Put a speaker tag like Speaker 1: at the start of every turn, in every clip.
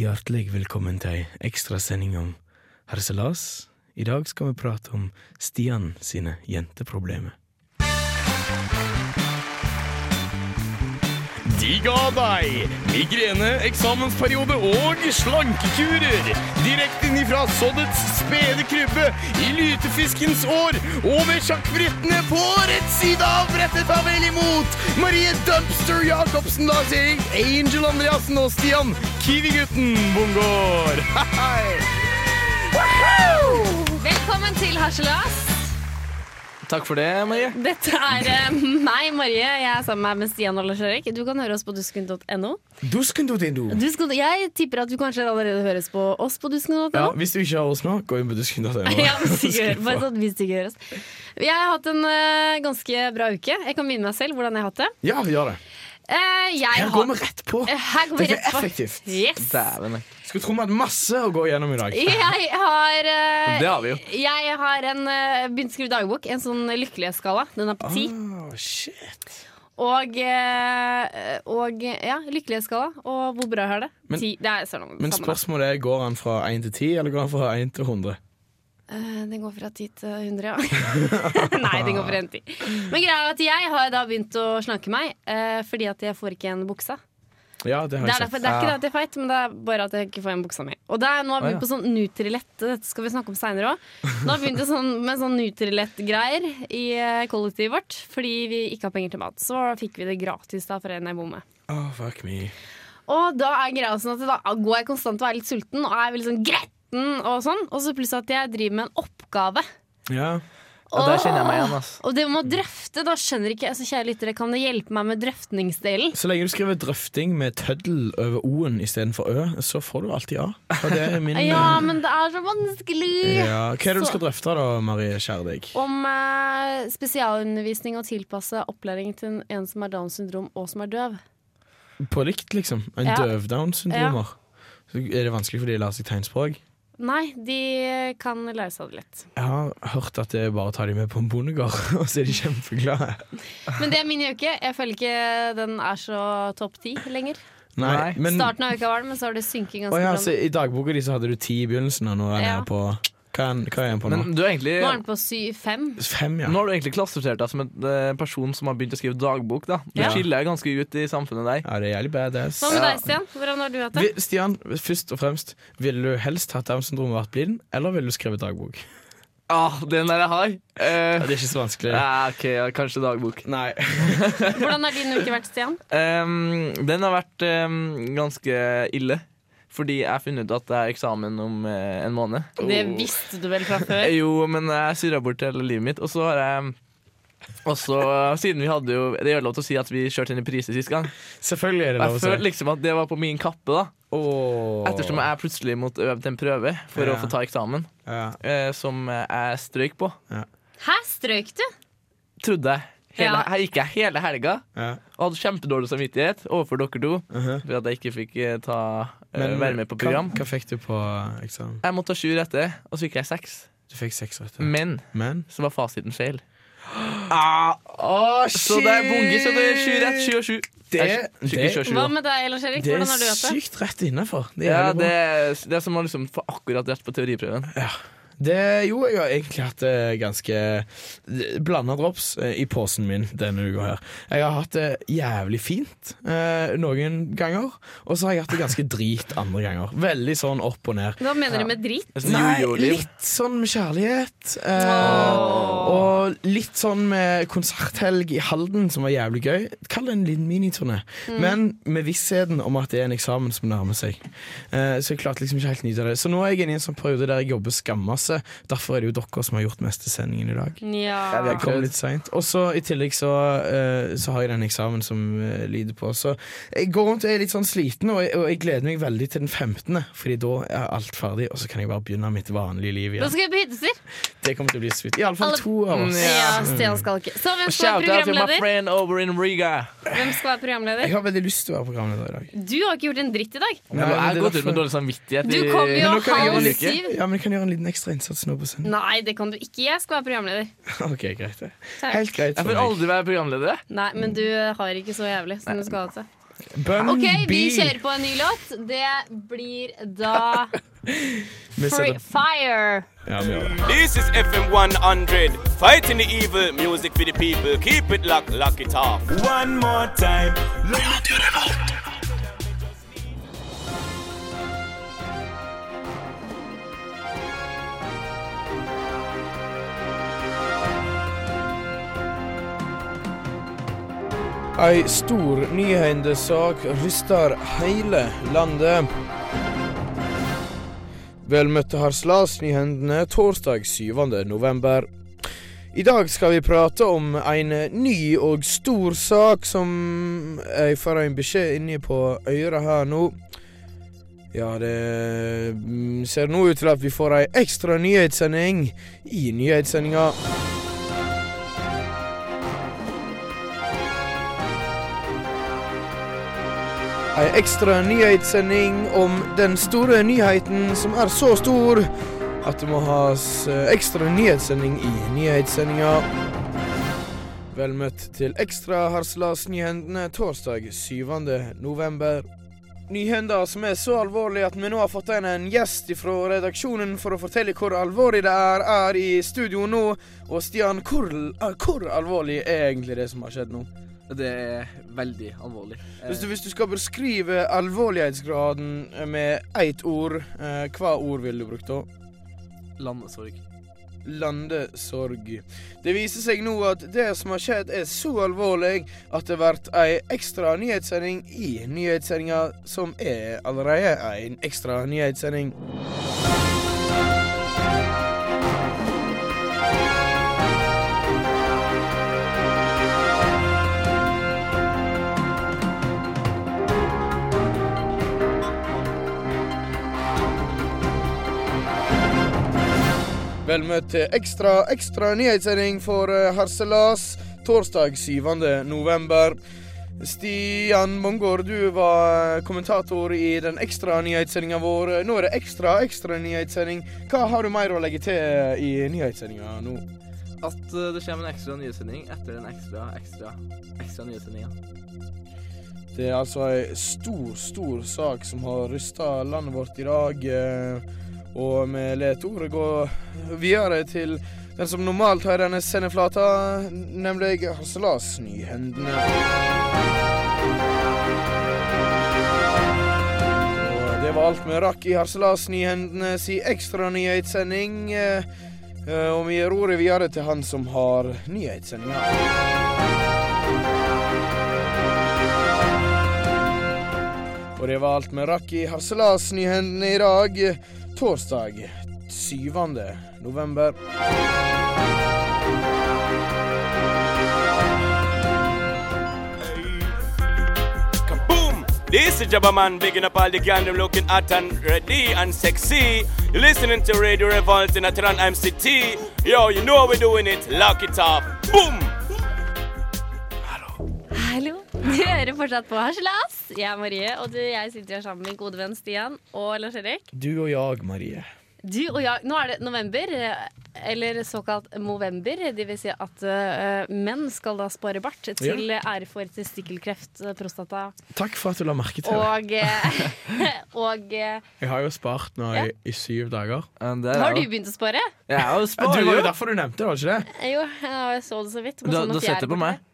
Speaker 1: Hjertelig velkommen til ei ekstrasending om harselas. I dag skal vi prate om Stian sine jenteproblemer.
Speaker 2: De ga deg migrene, eksamensperiode og slankekurer. Direkte inn ifra soddets spede krybbe i lytefiskens år. Og med sjakkbrettene på rett side av brettet ta vel imot Marie Dumpster Jacobsen, Lars Erik, Angel Andreassen og Stian Kiwi-gutten Bongård. Hei! Woohoo!
Speaker 3: Velkommen til Harselas.
Speaker 2: Takk for det, Marie.
Speaker 3: Dette er eh, meg, Marie. Jeg er sammen med- med Stian og Lars Erik. Du kan høre oss på dusken.no.
Speaker 1: Duskendotindo!
Speaker 3: Dusken, jeg tipper at du kanskje allerede høres på oss på dusken.no.
Speaker 1: Ja,
Speaker 3: Ja.
Speaker 1: hvis du ikke har oss nå, gå inn på dusken.no.
Speaker 3: hvis du ikke hører- bare sånn, hvis du ikke høres. Jeg har hatt en eh, ganske bra uke. Jeg kan begynne meg selv hvordan jeg har hatt det.
Speaker 1: Ja, gjør det.
Speaker 3: Eh, jeg
Speaker 1: Her
Speaker 3: har-
Speaker 1: går vi rett på.
Speaker 3: Eh, Her går vi
Speaker 1: Dette
Speaker 3: rett
Speaker 1: er
Speaker 3: på.
Speaker 1: effektivt.
Speaker 3: Yes.
Speaker 4: Dæven. jeg.
Speaker 1: Skulle tro vi hadde masse å gå gjennom i dag.
Speaker 3: Jeg har, eh,
Speaker 4: Det har vi jo.
Speaker 3: jeg har en, eh, begynt å skrive dagbok. En sånn lykkelighetsskala. Den er på ti.
Speaker 1: Ah, shit.
Speaker 3: Og, eh, og ja, lykkelighetsskala. Og hvor bra jeg har det.
Speaker 1: Men-
Speaker 3: Ti. Det er sånn,
Speaker 1: Men
Speaker 3: samme da.
Speaker 1: spørsmålet er, går han fra 1 til 10, eller går han fra 1 til 100?
Speaker 3: Eh, Den går fra 10 til 100, ja. Nei, den går fra 1 til 10. Men greia er at jeg har da begynt å slanke meg eh, fordi at jeg får ikke igjen buksa.
Speaker 1: Ja, det har
Speaker 3: Det
Speaker 1: jeg
Speaker 3: er,
Speaker 1: sett.
Speaker 3: derfor, det er ikke det at jeg er feit, men det er bare at jeg ikke får igjen buksa mi. Og det er, nå har jeg begynt på sånn Nutrilett, dette skal vi snakke om seinere òg. Nå har jeg begynt sånn, med sånn Nutrilett-greier i eh, kollektivet vårt fordi vi ikke har penger til mat. Så fikk vi det gratis da fra en jeg bor med.
Speaker 1: Åh, fuck me.
Speaker 3: Og da er greia sånn at da går jeg konstant og er litt sulten og er veldig sånn gretten og sånn. Og så plutselig at jeg driver med en oppgave.
Speaker 1: Ja.
Speaker 4: Ja, der kjenner jeg meg igjen. ass
Speaker 3: Og det med å drøfte, da skjønner ikke jeg så kjære lyttere, kan det hjelpe meg med drøftningsdelen?
Speaker 1: Så lenge du skriver drøfting med tøddel over o-en istedenfor ø, så får du alltid A. Og det er
Speaker 4: Mm.
Speaker 1: min
Speaker 3: Ja, men det er så vanskelig!
Speaker 1: ja. Hva er det du
Speaker 3: Så-
Speaker 1: skal drøfte da, Marie Kjærdig?
Speaker 3: Om eh, spesialundervisning og tilpasse opplæring til en som har Downs syndrom og som er døv.
Speaker 1: På likt, liksom? En
Speaker 3: Ja.
Speaker 1: døvdown-syndromer? Så Er det vanskelig fordi de lærer seg tegnspråk?
Speaker 3: Nei, de kan lære seg det lett.
Speaker 1: Jeg har hørt at det er bare å ta dem med på en bondegård, og så er de kjempeglade.
Speaker 3: Men det er min uke. Jeg føler ikke den er så topp ti lenger.
Speaker 1: Nei,
Speaker 4: Nei.
Speaker 1: men
Speaker 3: Starten av uka var det, men så har det
Speaker 1: Å
Speaker 3: synket ganske
Speaker 1: ja,
Speaker 3: bra.
Speaker 1: så I dagboka di så hadde du ti i begynnelsen, og nå er jeg
Speaker 3: Ja.
Speaker 1: nede på Hva er, den- hva er jeg på nå?
Speaker 4: Men du er egentlig
Speaker 3: Nå er den på syv, fem.
Speaker 1: Fem, ja.
Speaker 4: Nå har du egentlig klassifisert deg som en eh, person som har begynt å skrive dagbok. da Du
Speaker 3: Ja.
Speaker 4: skiller deg ganske ut i samfunnet der.
Speaker 1: ja. Det er jævlig badass.
Speaker 3: Hva med
Speaker 4: Ja.
Speaker 3: deg, Stian? Hvordan har du hatt det?
Speaker 1: Vi- Stian, først og fremst, ville du helst hatt Downs syndrom og vært blind, eller ville du skrevet dagbok?
Speaker 4: Ah, den der jeg har. Eh,
Speaker 1: Ja, det er ikke så vanskelig.
Speaker 4: ja, ok, ja, kanskje dagbok.
Speaker 1: Nei.
Speaker 3: Hvordan har din uke vært, Stian?
Speaker 4: Em, den har vært em, ganske ille. Fordi jeg har funnet ut at det er eksamen om eh, en måned.
Speaker 1: Oh.
Speaker 3: Det visste du vel fra før?
Speaker 4: Eh, Jo, men jeg surra bort hele livet mitt. Og så har jeg Og så, siden vi hadde jo Det gjør lov til å si at vi kjørte inn i priser sist gang.
Speaker 1: Selvfølgelig er det
Speaker 4: Og
Speaker 1: lov å
Speaker 4: Jeg
Speaker 1: si.
Speaker 4: følte liksom at det var på min kappe, da.
Speaker 1: Åh.
Speaker 4: Ettersom jeg plutselig måtte øve til en prøve for
Speaker 1: Ja.
Speaker 4: å få ta eksamen,
Speaker 1: ja.
Speaker 4: eh, som jeg strøyk på.
Speaker 3: Hæ, strøyk du?
Speaker 4: Trodde jeg. Hele,
Speaker 3: Ja.
Speaker 4: Her gikk jeg hele helga
Speaker 1: Ja.
Speaker 4: og hadde kjempedårlig samvittighet overfor dere to
Speaker 1: Mhm.
Speaker 4: for at jeg ikke fikk eh, ta, eh,
Speaker 1: Men
Speaker 4: være med på program.
Speaker 1: Hva, hva fikk du på eh, eksamen?
Speaker 4: Jeg måtte ta sju rette, og så fikk jeg seks.
Speaker 1: Du fikk seks rette.
Speaker 4: Men
Speaker 1: Men
Speaker 4: så var fasiten feil.
Speaker 1: Åh,
Speaker 4: ah, Så det er bunke, så det er sju rett, sju og sju.
Speaker 1: Det-
Speaker 4: Nei, sju- sju-
Speaker 1: det-
Speaker 4: sju og sju,
Speaker 3: Hva
Speaker 4: da.
Speaker 3: med deg, Lars Erik?
Speaker 1: Det er
Speaker 3: Hvordan har du hatt det?
Speaker 1: sykt rett innafor. Det, er jævlig bra.
Speaker 4: Ja, det, er- det er som å liksom få akkurat rett på teoriprøven.
Speaker 1: det Jo, jeg har egentlig hatt det ganske blanda drops eh, i posen min denne uka her. Jeg har hatt det jævlig fint eh, noen ganger, og så har jeg hatt det ganske drit andre ganger. Veldig sånn opp og ned.
Speaker 3: Hva mener du med drit?
Speaker 4: Det er sånn
Speaker 1: Nei,
Speaker 4: jojo-liv.
Speaker 1: litt sånn med kjærlighet. Eh,
Speaker 3: Åh.
Speaker 1: og litt sånn med konserthelg i Halden, som var jævlig gøy. Kall det en liten miniturné. Men med vissheten om at det er en eksamen som nærmer seg. Eh, så jeg klarte liksom ikke helt å nyte det. Så nå er jeg inne i en sånn periode der jeg jobber skammasse. Derfor er det jo dere som har gjort mest til sendingen i dag.
Speaker 4: Jeg
Speaker 3: Ja.
Speaker 1: Jeg
Speaker 4: vet
Speaker 1: kom litt seint. Og så i tillegg så, eh, så har jeg den eksamen som eh, lyder på. Så jeg går rundt og er litt sånn sliten, og jeg, og jeg gleder meg veldig til den 15., Fordi da er alt ferdig, og så kan jeg bare begynne mitt vanlige liv
Speaker 3: Da
Speaker 1: igjen.
Speaker 3: skal vi på hyttetur.
Speaker 1: Det kommer til å bli sweet. Iallfall
Speaker 3: Altså- Alle- Mm,
Speaker 1: to av oss.
Speaker 3: Ja, Stian skal ikke. Så hvem skal
Speaker 4: Shout
Speaker 3: være
Speaker 4: out til my
Speaker 3: programleder?
Speaker 4: friend over in Riga.
Speaker 3: Hvem skal være
Speaker 1: Jeg
Speaker 3: programleder?
Speaker 1: har veldig lyst til å være programleder i dag.
Speaker 3: Du har ikke gjort en dritt i dag.
Speaker 1: Nei,
Speaker 4: Jeg
Speaker 1: men
Speaker 4: har
Speaker 1: det er
Speaker 4: gått ut med
Speaker 1: derfor-
Speaker 4: dårlig samvittighet.
Speaker 3: Du
Speaker 4: i-
Speaker 3: kom jo
Speaker 1: nå kan jeg gjøre
Speaker 3: halv
Speaker 1: det.
Speaker 3: syv.
Speaker 1: Ja, men jeg kan gjøre en liten ekstra innsats nå på søndag.
Speaker 3: Nei, det kan du ikke. Jeg skal være programleder.
Speaker 1: Ok, greit det.
Speaker 3: Takk.
Speaker 1: Helt greit
Speaker 4: Jeg
Speaker 1: for
Speaker 4: får
Speaker 1: meg.
Speaker 4: aldri være programleder. jeg.
Speaker 3: Nei, men du har ikke så jævlig som du skal ha det.
Speaker 1: Bun
Speaker 3: OK, vi
Speaker 1: B.
Speaker 3: kjører på en ny låt. Det blir da
Speaker 1: Vi
Speaker 3: Free
Speaker 1: setter-
Speaker 3: Fire.
Speaker 1: Ja, vi gjør det.
Speaker 5: This is FM 100, fighting the evil, music for the people. Keep it locked, lock it off. One more time.
Speaker 1: Ei stor nyhendesak ryster hele landet. Vel møtte Harselasnyhendene torsdag 7. november. I dag skal vi prate om en ny og stor sak som jeg får en beskjed inni på øret her nå. Ja, det mm, ser nå ut til at vi får ei ekstra nyhetssending i nyhetssendinga. Ei ekstra nyhetssending om den store nyheten som er så stor at det må has eh, ekstra nyhetssending i nyhetssendinga. Vel møtt til ekstra Harselas-nyhendene torsdag 7. november. Nyhender som er så alvorlige at vi nå har fått inn en gjest fra redaksjonen for å fortelle hvor alvorlig det er, er i studio nå. Og Stian, hvor, eh, hvor alvorlig er egentlig det som har skjedd nå?
Speaker 6: Det er veldig alvorlig. Eh,
Speaker 1: Hvis du, hvis du skal beskrive alvorlighetsgraden med ett ord, eh, hva ord ville du brukt da? Eh,
Speaker 6: Landesorg.
Speaker 1: Landesorg. Det viser seg nå at det som har skjedd er så alvorlig at det blir ei ekstra nyhetssending i nyhetssendinga, som er allerede en ekstra nyhetssending. Vel møtt til ekstra, ekstra nyhetssending for eh, Harselas torsdag 7. november. Stian Bongård, du var eh, kommentator i den ekstra nyhetssendinga vår. Nå er det ekstra, ekstra nyhetssending. Hva har du mer å legge til eh, i nyhetssendinga nå?
Speaker 6: At eh, det kommer en ekstra nyhetssending etter den ekstra, ekstra, ekstra nyhetssendinga.
Speaker 1: Det er altså ei stor, stor sak som har rysta landet vårt i dag. eh, Og vi lar ordet gå videre til den som normalt har denne sendeflata, nemlig Harselas-nyhendene. Og Det var alt vi rakk i Harselas-nyhendene si ekstra nyhetssending. eh, eh, Og vi gir ordet videre til han som har nyhetssendinga. Og det var alt vi rakk i Harselas-nyhendene i dag, torsdag 7. november.
Speaker 5: Kaboom! This is Jabba Man bigging up all the gang, them looking hot and ready and sexy. You're listening to Radio Revolt in Atran MCT. Yo, you know how we're doing it. Lock it off. Boom!
Speaker 3: Hallo. Du hører fortsatt på Harselas. Jeg er Marie, og du, jeg sitter her sammen med min gode venn Stian og Lars Erik.
Speaker 1: Du og jeg, Marie.
Speaker 3: Du og jeg, Nå er det november, eh, eller såkalt november. Det vil si at eh, menn skal da spare bart til eh, ære for testikkelkreft, eh, prostata
Speaker 1: Takk for at du la merke til det.
Speaker 3: og, eh, og eh,
Speaker 1: Jeg har jo spart nå i, i syv dager.
Speaker 4: Eh, det er
Speaker 3: Har du
Speaker 4: jo-
Speaker 3: begynt å spare?
Speaker 4: Jeg
Speaker 1: Ja, det
Speaker 4: er jo
Speaker 1: var jo
Speaker 4: sparer, jo.
Speaker 1: derfor du nevnte det, var det ikke det?
Speaker 3: Eh, Jo, jeg så det så vidt. på
Speaker 4: Du
Speaker 3: sånne
Speaker 4: har sett det
Speaker 3: fjær
Speaker 4: på meg.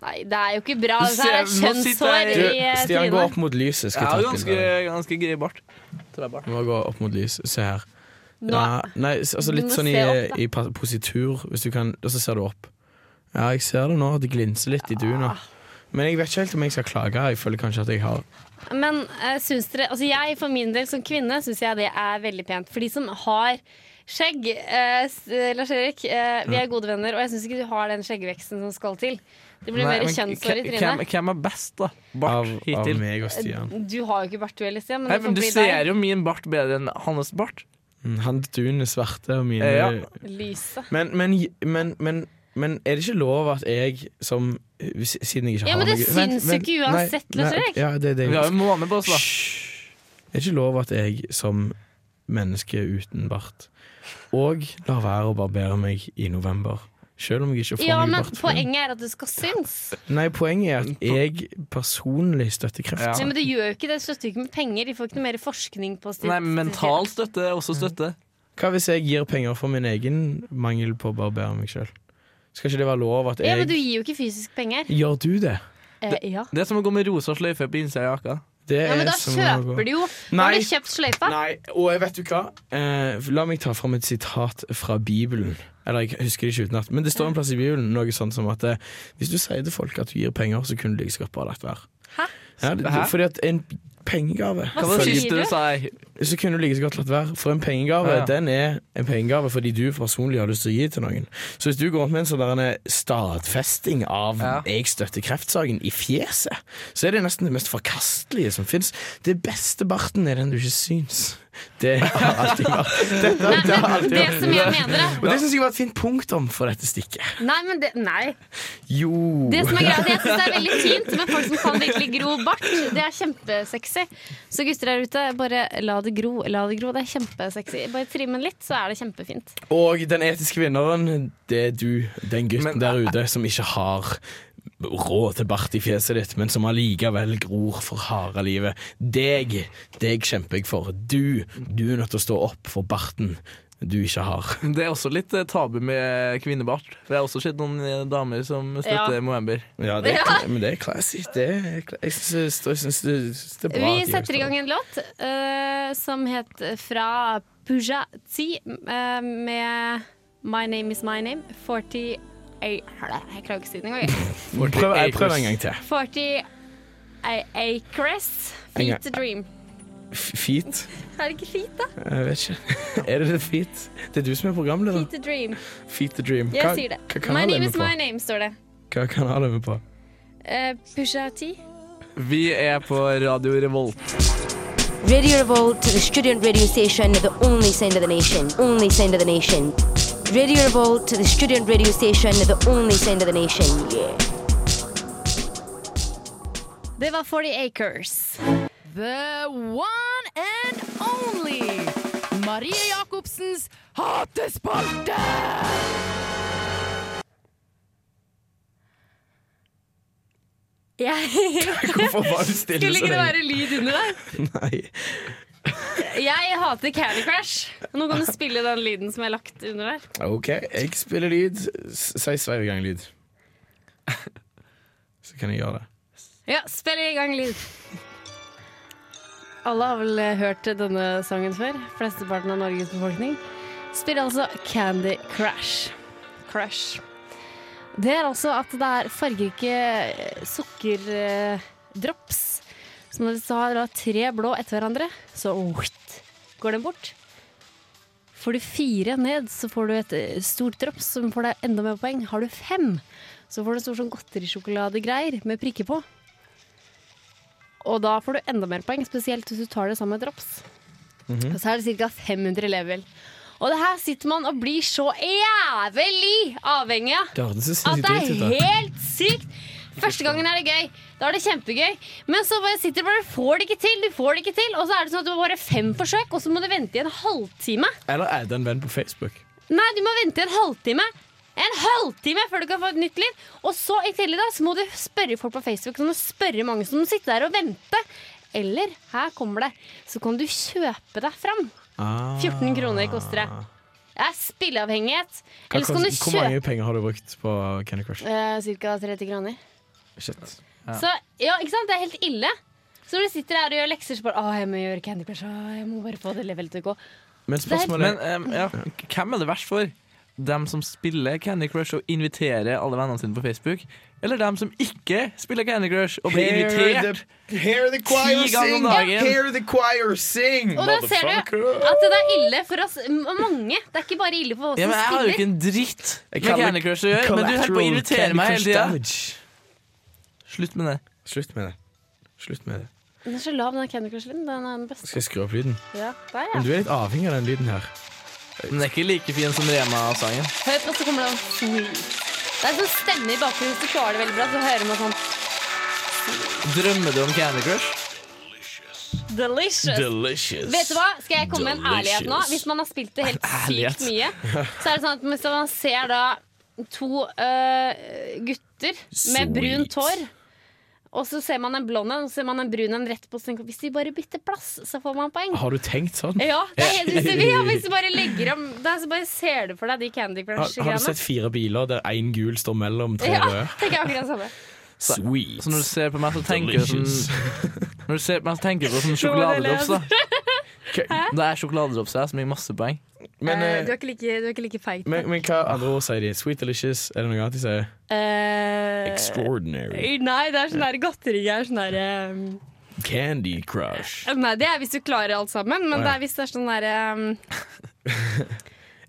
Speaker 3: Nei, det er jo ikke bra.
Speaker 4: Du
Speaker 3: Det her er
Speaker 4: ser- nå sitter
Speaker 3: kjønnshår
Speaker 4: jeg-
Speaker 3: i
Speaker 1: Du,
Speaker 3: eh,
Speaker 1: Stian, gå
Speaker 3: trynet.
Speaker 1: opp mot lyset.
Speaker 4: Jeg
Speaker 1: Skal
Speaker 4: har
Speaker 1: jeg
Speaker 4: jo
Speaker 1: ta et
Speaker 4: ganske,
Speaker 1: bilde. av deg.
Speaker 4: ganske grei bart. Tror jeg bart.
Speaker 1: Du må gå opp mot lyset. Se her.
Speaker 3: Nå,
Speaker 1: Ja, nei, s- altså litt
Speaker 3: Du må
Speaker 1: sånn i,
Speaker 3: se opp, da.
Speaker 1: i pa- positur, hvis du kan, og så ser du opp. Ja, jeg ser det nå, det glinser litt i duna.
Speaker 3: Ah.
Speaker 1: Men jeg vet ikke helt om jeg skal klage. Jeg føler kanskje at jeg har
Speaker 3: Men eh, syns dere Altså jeg for min del som kvinne syns jeg det er veldig pent. For de som har skjegg eh, s- eh, Lars Erik, eh, vi er gode venner, og jeg syns ikke du har den skjeggveksten som skal til. Det blir
Speaker 4: Nei,
Speaker 3: mer
Speaker 4: men
Speaker 3: kjønnshår i
Speaker 4: hvem-
Speaker 3: trynet.
Speaker 4: Hvem er best, da?
Speaker 1: av,
Speaker 4: Bart
Speaker 1: av
Speaker 4: hittil.
Speaker 1: meg og Stian.
Speaker 3: Du har jo ikke bart, du heller, Stian. Men
Speaker 4: Nei,
Speaker 3: det
Speaker 4: men
Speaker 3: får
Speaker 4: du
Speaker 3: bli
Speaker 4: ser
Speaker 3: deg.
Speaker 4: jo min bart bedre enn hans bart.
Speaker 1: Mm, Han dune svarte og mine
Speaker 4: Ja.
Speaker 3: Lyset.
Speaker 1: men, men, men, men, men er det ikke lov at jeg som hvis- Siden jeg ikke
Speaker 3: Ja,
Speaker 1: har
Speaker 3: men det
Speaker 1: noe-
Speaker 3: syns jo ikke
Speaker 1: nei,
Speaker 3: uansett,
Speaker 1: nei,
Speaker 3: Lars Erik.
Speaker 1: Ja, det, er det,
Speaker 4: Vi har jo en måned på oss, da.
Speaker 1: Hysj. Er det ikke lov at jeg som menneske uten bart og lar være å barbere meg i november? Selv om jeg ikke får
Speaker 3: Ja,
Speaker 1: noe
Speaker 3: men
Speaker 1: bart. på den.
Speaker 3: poenget er at det skal synes.
Speaker 1: Nei, poenget er at jeg personlig støtter kreft.
Speaker 3: Nei, men det gjør jo ikke det. Det støtter jo ikke med penger. De får ikke noe mer forskning på sitt-
Speaker 4: Nei, mental støtte er
Speaker 1: Mm.
Speaker 4: også støtte.
Speaker 1: Hva hvis jeg gir penger for min egen mangel på å barbere meg sjøl? Skal ikke det være lov at
Speaker 3: Ja,
Speaker 1: jeg
Speaker 3: men du gir jo ikke fysisk penger.
Speaker 1: Gjør du det?
Speaker 3: Eh, ja.
Speaker 4: Det er som å gå med rosa sløyfe på innsida av jakka.
Speaker 1: Det
Speaker 3: ja, men da
Speaker 1: som å gå-
Speaker 3: kjøper du jo. Nå
Speaker 1: Nei.
Speaker 3: har du kjøpt sløyfa.
Speaker 1: Nei, og jeg vet du hva? Eh, la meg ta fram et sitat fra Bibelen. Eller jeg husker det ikke utenat, men det står en plass i Bibelen noe sånn som at eh, hvis du sier til folk at du gir penger, så kunne du like så godt bare latt være.
Speaker 3: Hæ?
Speaker 1: Ja, det,
Speaker 4: Hæ?
Speaker 1: fordi at en pengegave
Speaker 4: Hva var det
Speaker 3: sier
Speaker 4: siste
Speaker 3: du?
Speaker 4: du sa? jeg?
Speaker 1: Så kunne du like så godt latt være. For en pengegave,
Speaker 4: Ja, ja.
Speaker 1: den er en pengegave fordi du personlig har lyst til å gi til noen. Så hvis du går rundt med en sånn der en stadfesting av
Speaker 4: Ja.
Speaker 1: 'jeg støtter kreftsaken' i fjeset, så er det nesten det mest forkastelige som fins. Det beste barten er den du ikke syns. Det har alltid vært Dette-
Speaker 3: Nei,
Speaker 1: det har
Speaker 3: men
Speaker 1: alltid
Speaker 3: det
Speaker 1: vært-
Speaker 3: som jeg mener er
Speaker 1: Og det syns jeg var et fint punktum for dette stikket.
Speaker 3: Nei, men det, nei.
Speaker 1: Jo.
Speaker 3: Det som er greit, jeg synes det er veldig fint med folk som kan virkelig gro bart. Det er kjempesexy. Så gutter der ute, bare la det gro. La det gro. Det er kjempesexy. Bare trim den litt, så er det kjempefint.
Speaker 1: Og den etiske vinneren, det er du, den gutten
Speaker 4: Men-
Speaker 1: der ute som ikke har råd til bart i fjeset ditt, men som allikevel gror for harde livet. Deg, deg kjemper jeg for. Du, du er nødt til å stå opp for barten du ikke har.
Speaker 4: Det er også litt eh, tabu med kvinnebart. For jeg har også sett noen eh, damer som støtter
Speaker 3: Ja.
Speaker 4: Moember.
Speaker 1: Ja, det er, Men det er classy. Det er, jeg syns jeg syns det, det er bra.
Speaker 3: Vi
Speaker 1: at de
Speaker 3: setter i
Speaker 1: gjør
Speaker 3: gang en låt eh, som het Fra Pooja Tsi eh, med My Name Is My Name. 40 Jeg jeg klarer ikke å si det engang. jeg.
Speaker 1: det. Prøv, jeg prøver en gang til.
Speaker 3: 40 A- Acres.
Speaker 1: En gang.
Speaker 3: Feet to Dream.
Speaker 1: F- Feet?
Speaker 3: Er det ikke feet, da?
Speaker 1: Jeg vet ikke. Er det det feet? Det er du som er programleder.
Speaker 3: Feet to Dream.
Speaker 1: Feet the dream.
Speaker 3: Jeg sier det.
Speaker 1: hva
Speaker 3: My
Speaker 1: kanal er
Speaker 3: name
Speaker 1: vi
Speaker 3: is
Speaker 1: på?
Speaker 3: my name, står det.
Speaker 1: Hva kanal er vi på?
Speaker 3: Uh, Pusha T.
Speaker 4: Vi er på Radio Revolt.
Speaker 7: Radio Revolt to the student radio station, the only sound of the nation, only sound of the nation. Radio Revolt to the student radio station, the only sound of the nation. Yeah.
Speaker 3: Det var 40 Acres.
Speaker 8: The one and only Marie Jacobsens hatespalte!
Speaker 3: Jeg
Speaker 1: Hvorfor var du stille
Speaker 3: Skulle ikke det være lyd under der?
Speaker 1: Nei.
Speaker 3: Jeg hater Candy Crash. Nå kan du spille den lyden som jeg har lagt under der.
Speaker 1: OK, jeg spiller lyd. S- Si sveiv i gang lyd. Så kan jeg gjøre det.
Speaker 3: Ja, spill i gang lyd. Alle har vel eh, hørt denne sangen før, flesteparten av Norges befolkning. Spiller altså Candy Crash. Crash. Det er altså at det er fargerike eh, sukkerdrops. Så når du har da tre blå etter hverandre, så whitt, går den bort. Får du fire ned, så får du et eh, stort drops som får deg enda mer poeng. Har du fem, så får du en stor sånn godterisjokoladegreier med prikker på. Og da får du enda mer poeng, spesielt hvis du tar det sammen med drops. Og så er det ca. 500 level. Og det her sitter man og blir så jævlig avhengig av
Speaker 1: Det hørtes så
Speaker 3: at
Speaker 1: sinnssykt
Speaker 3: det er
Speaker 1: dritt ut. da.
Speaker 3: helt sykt. Første gangen er det gøy. Da er det kjempegøy. Men så bare sitter du bare du får det ikke til, du får det ikke til. Og så er det sånn at du har bare fem forsøk, og så må du vente i en halvtime.
Speaker 1: Eller er det en venn på Facebook?
Speaker 3: Nei, du må vente i en halvtime. En halvtime før du kan få et nytt liv. Og så i tillegg da, så må du spørre folk på Facebook. Så må du spørre mange som sitter der og venter. Eller her kommer det. Så kan du kjøpe deg fram.
Speaker 1: Ah.
Speaker 3: 14 kroner koster det. Det er spilleavhengighet.
Speaker 1: Hva
Speaker 3: Eller så kan du
Speaker 1: kost- Hvor mange
Speaker 3: kjøpe
Speaker 1: penger har du brukt på Candy Crush?
Speaker 3: eh, ca. 30 kroner.
Speaker 1: Shit.
Speaker 3: Så, ja, ikke sant? Det er helt ille. Så når du sitter her og gjør lekser, så bare Å, jeg må gjøre Candy Crush. Å, jeg må bare få det levelet til å gå.
Speaker 1: Men spørsmålet
Speaker 4: Men em, ja, hvem er det verst for? Dem som spiller Candy Crush og inviterer alle vennene sine på Facebook? Eller dem som ikke spiller Candy Crush og blir invitert?
Speaker 2: hear the
Speaker 4: choir Ti ganger om sing. dagen. Hear
Speaker 2: the choir sing,
Speaker 3: Og da ser
Speaker 4: sånn
Speaker 3: du at det er ille for oss m- mange. Det er ikke bare ille for oss
Speaker 4: Ja, men Jeg
Speaker 3: som
Speaker 4: har jo ikke
Speaker 3: spiller.
Speaker 4: en dritt
Speaker 1: Jeg
Speaker 4: med
Speaker 1: kaller
Speaker 4: Candy Crush å gjøre, men du holder på å
Speaker 1: Collateral
Speaker 4: invitere
Speaker 1: Candy
Speaker 4: meg hele
Speaker 1: Crush
Speaker 4: tida.
Speaker 1: damage.
Speaker 4: Slutt med det.
Speaker 1: Slutt med det. Slutt med det.
Speaker 3: Den er så lav, den Candy Crush-lyden. Den er den beste.
Speaker 1: Skal jeg skru opp lyden?
Speaker 3: Ja, der,
Speaker 1: Men
Speaker 3: ja.
Speaker 1: du er litt avhengig av den lyden her.
Speaker 4: Den er ikke like fin som Rema-sangen.
Speaker 3: Hør på, så kommer det sånn Det er sånn stemme i bakgrunnen. Hvis du klarer det veldig bra, så hører man sånn
Speaker 4: Drømmer du om Candy Crush?
Speaker 3: Delicious. Vet du hva? Skal jeg komme med en ærlighet nå? Hvis man har spilt det helt sykt
Speaker 4: Ærlighet.
Speaker 3: mye, så er det sånn at hvis man ser da to eh, gutter med brunt hår. Og så ser man en blond en, og så ser man en brun en rett på. Så tenker, jeg, hvis de bare bytter plass, så får man poeng.
Speaker 1: Har du tenkt sånn?
Speaker 3: Ja, det er helt usikkert. Ja, hvis du bare legger om det, er så bare ser du for deg de Candy
Speaker 1: Har, har du
Speaker 3: Crush-greiene.
Speaker 1: sett fire biler der én gul står mellom tre
Speaker 3: Ja,
Speaker 1: røde? Sånn-
Speaker 3: tenker jeg akkurat det samme.
Speaker 1: Sweet.
Speaker 4: Så når du ser på meg, så tenker du
Speaker 1: Delicious.
Speaker 4: sånn Når du ser på meg, så tenker du på sånn
Speaker 3: Nå må du
Speaker 4: sjokoladedrops, da. Det er sjokoladedrops jeg som gir masse poeng.
Speaker 1: Men,
Speaker 3: Eh, du,
Speaker 1: eh,
Speaker 3: er ikke like, du er ikke like feit.
Speaker 1: men, men hva andre ord sier de? Sweet delicious? Er det noe annet de sier?
Speaker 3: Eh,
Speaker 1: Extraordinary.
Speaker 3: nei, det er sånn der godterigreier. Sånn der eh,
Speaker 1: Candy crush.
Speaker 3: Nei, det er hvis du klarer alt sammen,
Speaker 1: Å,
Speaker 3: men
Speaker 1: ja.
Speaker 3: det er hvis det er sånn derre um,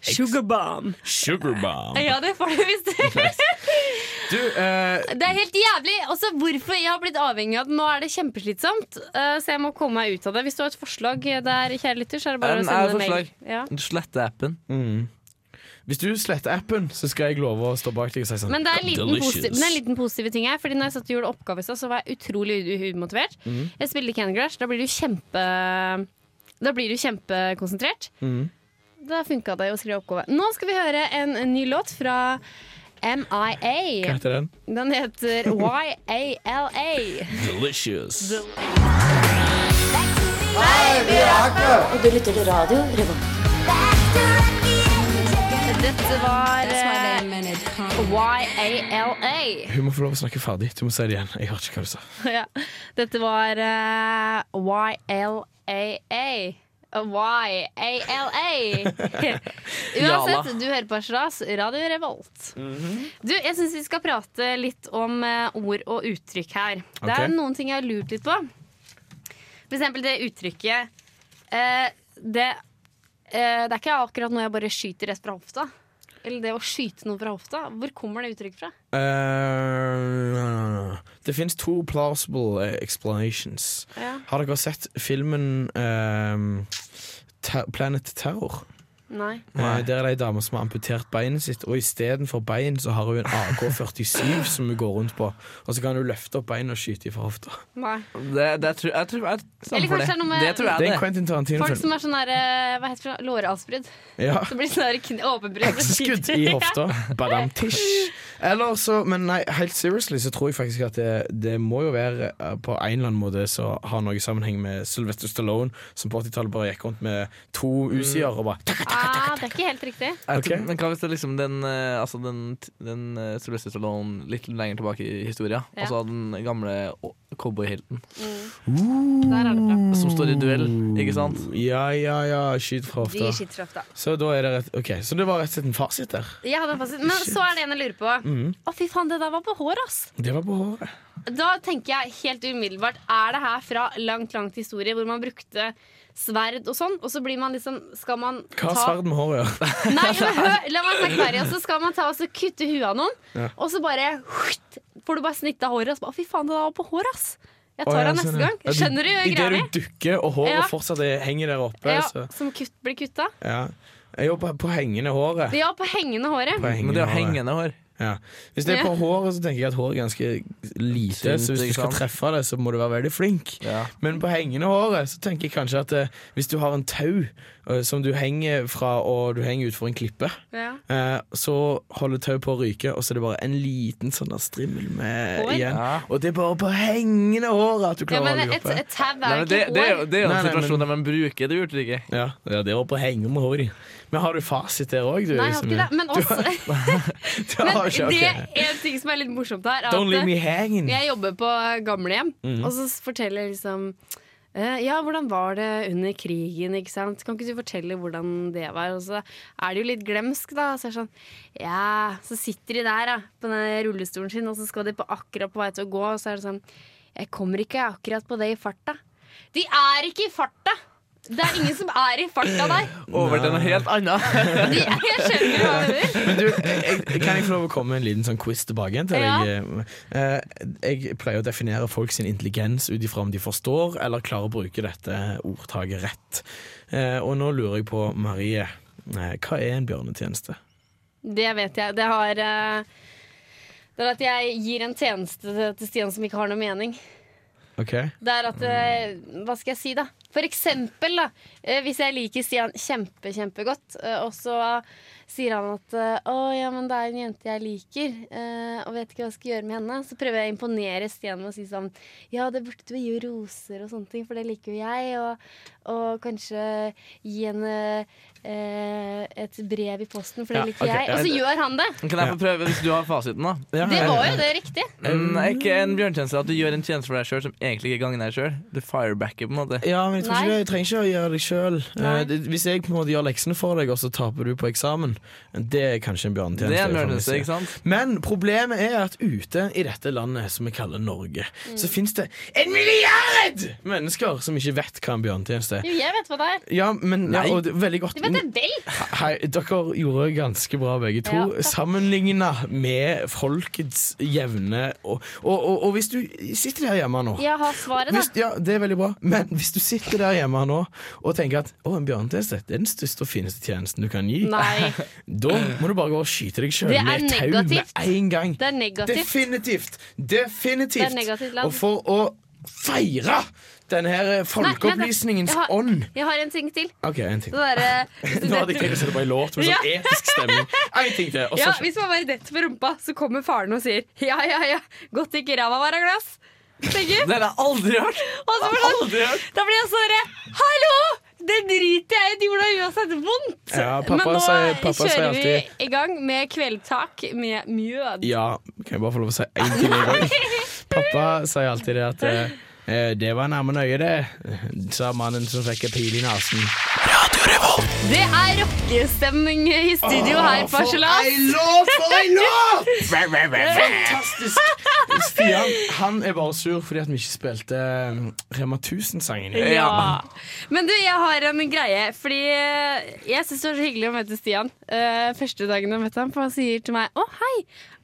Speaker 3: Sugar bomb.
Speaker 1: Sugar bomb.
Speaker 3: Ja, det får du hvis du
Speaker 1: Du, eh,
Speaker 3: Det er helt jævlig! Også hvorfor jeg har blitt avhengig av det. Nå er det kjempeslitsomt, eh, så jeg må komme meg ut av det. Hvis du har et forslag eh, der, kjære lytter, så er det bare
Speaker 4: Um,
Speaker 3: å
Speaker 4: jeg har et
Speaker 3: sende en mail.
Speaker 4: forslag.
Speaker 3: Ja.
Speaker 4: Du sletter appen.
Speaker 1: mm. Hvis du sletter appen, så skal jeg love å stå bak deg og si sånn
Speaker 3: Men det er en liten,
Speaker 1: delicious.
Speaker 3: positiv, men det er en liten positiv ting her. Fordi når jeg satt og gjorde oppgave i stad, så var jeg utrolig u- umotivert. Jeg spilte Candy Crush. Da blir du kjempe Da blir du kjempekonsentrert. Da funka det å skrive oppgave. Nå skal vi høre en ny låt fra
Speaker 1: Hva
Speaker 3: MIA.
Speaker 1: heter den?
Speaker 3: Den heter YALA.
Speaker 1: Delicious.
Speaker 7: Og du lytter til radio Revolt.
Speaker 3: Dette var eh, YALA.
Speaker 1: Hun må få lov å snakke ferdig. Du må si det igjen. Jeg hørte ikke hva du sa.
Speaker 3: Ja. Dette var eh, YLAA. YALA. Uansett, du hører på Ashras Radio Revolt. Du, jeg syns vi skal prate litt om eh, ord og uttrykk her. Det er
Speaker 1: Ok.
Speaker 3: noen ting jeg har lurt litt på. For eksempel det uttrykket eh, det, eh, det er ikke akkurat noe jeg bare skyter rett fra hofta. Eller det å skyte noe fra hofta. Hvor kommer det uttrykket fra?
Speaker 1: Eh, det finnes to plausible eh, explanations.
Speaker 3: Ja.
Speaker 1: Har dere sett filmen eh, Ter Planet Terror?
Speaker 3: Nei.
Speaker 1: Eh, der er det ei dame som har amputert beinet sitt, og istedenfor bein så har hun en AK-47 som hun går rundt på. Og så kan hun løfte opp beinet og skyte i fra hofta.
Speaker 3: Nei.
Speaker 4: Det, det tror jeg tror, jeg,
Speaker 3: Eller
Speaker 4: stemmer for
Speaker 3: kanskje det er noe med-
Speaker 4: det. det tror
Speaker 1: Det er en
Speaker 4: jeg det.
Speaker 1: Quentin
Speaker 3: Folk som
Speaker 1: Tarantino-film.
Speaker 3: har sånn der, eh, hva heter det, for noe? låravsbrudd.
Speaker 1: Ja.
Speaker 3: Så blir det sånn der kn- åpenbrudd.
Speaker 1: Hekseskudd i hofta. Badamtish. Eller så, men nei, helt seriously så tror jeg faktisk at det, det må jo være eh, på en eller annen måte så har noe sammenheng med Sylvester Stallone, som på 80-tallet bare gikk rundt med to
Speaker 3: Mm.
Speaker 1: usier og bare
Speaker 3: Ja, ah, det er ikke helt riktig.
Speaker 4: Jeg tror,
Speaker 1: Ok.
Speaker 4: Men hva hvis det er liksom den, eh, altså den, den eh, Sylvester Stallone litt lenger tilbake i historien?
Speaker 3: Ja.
Speaker 4: Altså den gamle å- cowboyhelten
Speaker 3: Der er det bra.
Speaker 4: som står i duell, ikke sant?
Speaker 1: Ja, ja, ja, skyt fra
Speaker 3: De
Speaker 1: hofta.
Speaker 3: skyter ofte.
Speaker 1: Så da er det rett Ok, så det var rett og slett en fasit der.
Speaker 3: Jeg hadde en fasit. Men så er det en jeg lurer på. Å,
Speaker 1: Mm.
Speaker 3: fy faen, det der var på hår, ass.
Speaker 1: Det var på håret.
Speaker 3: Da tenker jeg helt umiddelbart Er det her fra langt, langt historie hvor man brukte sverd og sånn, og så blir man liksom Skal man
Speaker 1: Hva har
Speaker 3: ta
Speaker 1: sverd med håret å gjøre?
Speaker 3: Nei, men hør, la meg snakke ferdig. Og så skal man ta og så kutte huet av noen, og så bare hutt, får du bare snitt av håret. Og så bare, Å, fy faen, det der var på håret, ass. Jeg tar
Speaker 1: Å, ja,
Speaker 3: av neste
Speaker 1: sånn, ja.
Speaker 3: gang.
Speaker 1: Ja, du-
Speaker 3: Skjønner du
Speaker 1: I det
Speaker 3: greia mi?
Speaker 1: du dukker, og håret
Speaker 3: Ja.
Speaker 1: fortsatt er- henger der oppe,
Speaker 3: Ja,
Speaker 1: så
Speaker 3: som kutt, blir kutta?
Speaker 1: Ja. Jeg jobber på hengende håret.
Speaker 3: Ja, på hengende håret.
Speaker 1: På
Speaker 4: Men det er jo hengende hår.
Speaker 1: Ja. Hvis det er på
Speaker 3: Ja.
Speaker 1: håret, så tenker jeg at håret er ganske lite.
Speaker 4: Tynt,
Speaker 1: så hvis du
Speaker 4: ikke
Speaker 1: skal
Speaker 4: sant?
Speaker 1: treffe det, så må du være veldig flink.
Speaker 4: Ja.
Speaker 1: Men på hengende håret så tenker jeg kanskje at eh, hvis du har en tau eh, som du henger fra, og du henger utfor en klippe,
Speaker 3: Ja.
Speaker 1: eh, så holder tau på å ryke, og så er det bare en liten sånn der strimmel med
Speaker 3: Hår?
Speaker 1: igjen.
Speaker 4: Ja.
Speaker 1: Og det er bare på hengende håret at du
Speaker 3: Ja,
Speaker 1: klarer
Speaker 3: men
Speaker 1: å
Speaker 3: et,
Speaker 1: holde det oppe.
Speaker 3: et
Speaker 4: Nei,
Speaker 3: tau er jo
Speaker 4: men det,
Speaker 3: ikke
Speaker 4: det, er
Speaker 3: hår.
Speaker 4: jo- det er jo
Speaker 1: Nei,
Speaker 4: en
Speaker 1: nei,
Speaker 4: situasjon der man bruker det uttrykket.
Speaker 1: Ja, ja, det var på hengende hår. Men har du fasit der òg, du?
Speaker 3: Nei, jeg har ikke det. Men også,
Speaker 1: Du
Speaker 3: men
Speaker 1: har ikke,
Speaker 3: det
Speaker 1: ok.
Speaker 3: er en ting som er litt morsomt her. er
Speaker 1: Don't leave me
Speaker 3: At eh,
Speaker 1: hanging. Mhm.
Speaker 3: jeg jobber på gamlehjem, og så forteller jeg liksom eh, ja, hvordan var det under krigen, ikke sant? Kan ikke du fortelle hvordan det var? Og så er det jo litt glemsk, da. Så, er det sånn, ja, så sitter de der da, på den rullestolen sin, og så skal de på akkurat på vei til å gå, og så er det sånn Jeg kommer ikke akkurat på det i farta. De er ikke i farta! Det er ingen som er i farta der.
Speaker 4: Over til noe helt annet.
Speaker 3: De, jeg skjønner hva du mener.
Speaker 1: Men du, jeg, jeg- kan jeg få lov å komme med en liten sånn quiz tilbake igjen til
Speaker 3: Ja.
Speaker 1: deg? Eh, Jeg pleier å definere folk sin intelligens ut ifra om de forstår eller klarer å bruke dette ordtaket rett. Eh, Og nå lurer jeg på, Marie, eh, hva er en bjørnetjeneste?
Speaker 3: Det vet jeg. Det har eh, Det er at jeg gir en tjeneste til- til Stian som ikke har noe mening.
Speaker 1: Ok?
Speaker 3: Det er at eh, Hva skal jeg si, da? For eksempel, da. eh, Hvis jeg liker Stian kjempe, kjempegodt, eh, og så sier han at eh, å, ja, men det er en jente jeg liker, eh, og vet ikke hva jeg skal gjøre med henne. Så prøver jeg å imponere Stian med å si sånn ja, det burde du gi henne roser og sånne ting, for det liker jo jeg. Og, og kanskje gi henne eh, et brev i posten, for det
Speaker 1: Ja,
Speaker 3: liker
Speaker 1: ok,
Speaker 3: jeg. Og så
Speaker 1: ja,
Speaker 3: gjør han det!
Speaker 4: Kan jeg få prøve, hvis du har fasiten, da?
Speaker 3: Det var jo det riktig.
Speaker 4: En, ikke en bjørntjeneste at du gjør en tjeneste for deg sjøl som egentlig ikke gagner deg sjøl. Du firebacker, på en måte.
Speaker 1: Ja, men jeg, tror ikke
Speaker 3: Nei.
Speaker 1: det, jeg trenger ikke å gjøre det sjøl.
Speaker 3: Nei.
Speaker 1: hvis jeg på en måte gjør leksene for deg, og så taper du på eksamen, det er sånn kanskje en bjørnetjeneste.
Speaker 4: Det er en
Speaker 1: fra min
Speaker 4: bjørntjeneste,
Speaker 1: side.
Speaker 4: ikke sant?
Speaker 1: Men problemet er at ute i dette landet som vi kaller Norge,
Speaker 3: Mm.
Speaker 1: så fins det en milliard mennesker som ikke vet hva en bjørnetjeneste er.
Speaker 3: Jo, jeg vet hva det er.
Speaker 1: Ja, men ja, og det, er veldig godt
Speaker 3: Du vet det vel!
Speaker 1: Hei, dere gjorde ganske bra begge to.
Speaker 3: Ja, takk.
Speaker 1: Sammenligna med folkets jevne og, og, og, og hvis du sitter der hjemme nå
Speaker 3: Jeg har svaret, da.
Speaker 1: hvis, ja, Det er veldig bra, men hvis du sitter der hjemme nå og tenker at å, en bjørnetjeneste det er den største og fineste tjenesten du kan gi,
Speaker 3: Nei,
Speaker 1: da må du bare gå og skyte deg sjøl
Speaker 3: Det er
Speaker 1: ned i tauet med
Speaker 3: negativt.
Speaker 1: en gang.
Speaker 3: det er negativt.
Speaker 1: Definitivt!
Speaker 3: Det er
Speaker 1: Definitivt!
Speaker 3: negativt land.
Speaker 1: Og for å feire denne her folkeopplysningens
Speaker 3: Jeg har-
Speaker 1: ånd
Speaker 3: Jeg har en ting til.
Speaker 1: OK, en ting.
Speaker 3: Det eh, derre
Speaker 1: Nå hadde jeg tenkt å sette på en låt med sånn episk stemning. En ting til, og så
Speaker 3: Ja, hvis man var rett ved rumpa, så kommer faren og sier ja, ja, ja, godt ikke ræva var av glass. Tenker.
Speaker 4: Det har jeg aldri hørt!
Speaker 3: Og så blir det sånn, da blir jeg sånn herre, hallo! Det driter jeg i, det gjorde det uansett vondt.
Speaker 1: Ja, pappa
Speaker 3: Men nå
Speaker 1: sier- pappa sier
Speaker 3: kjører vi
Speaker 1: alltid-
Speaker 3: i gang med kveldtak med mjød.
Speaker 1: Ja, kan jeg bare få lov å si en ting i gang? Pappa sier alltid det at eh, eh, Det var nærme nøye, det, sa mannen som fikk en pil i nesen.
Speaker 3: Det er rockestemning i studio her på Arselas.
Speaker 1: låt! For ei låt! Fantastisk! Stian han er bare sur fordi at vi ikke spilte eh, Rema 1000-sangen. i dag.
Speaker 3: Ja. Men du, jeg har en greie. Fordi eh, jeg syns det var så hyggelig å møte Stian. Eh, første dagen jeg møtte ham, for han sier til meg 'Å, hei,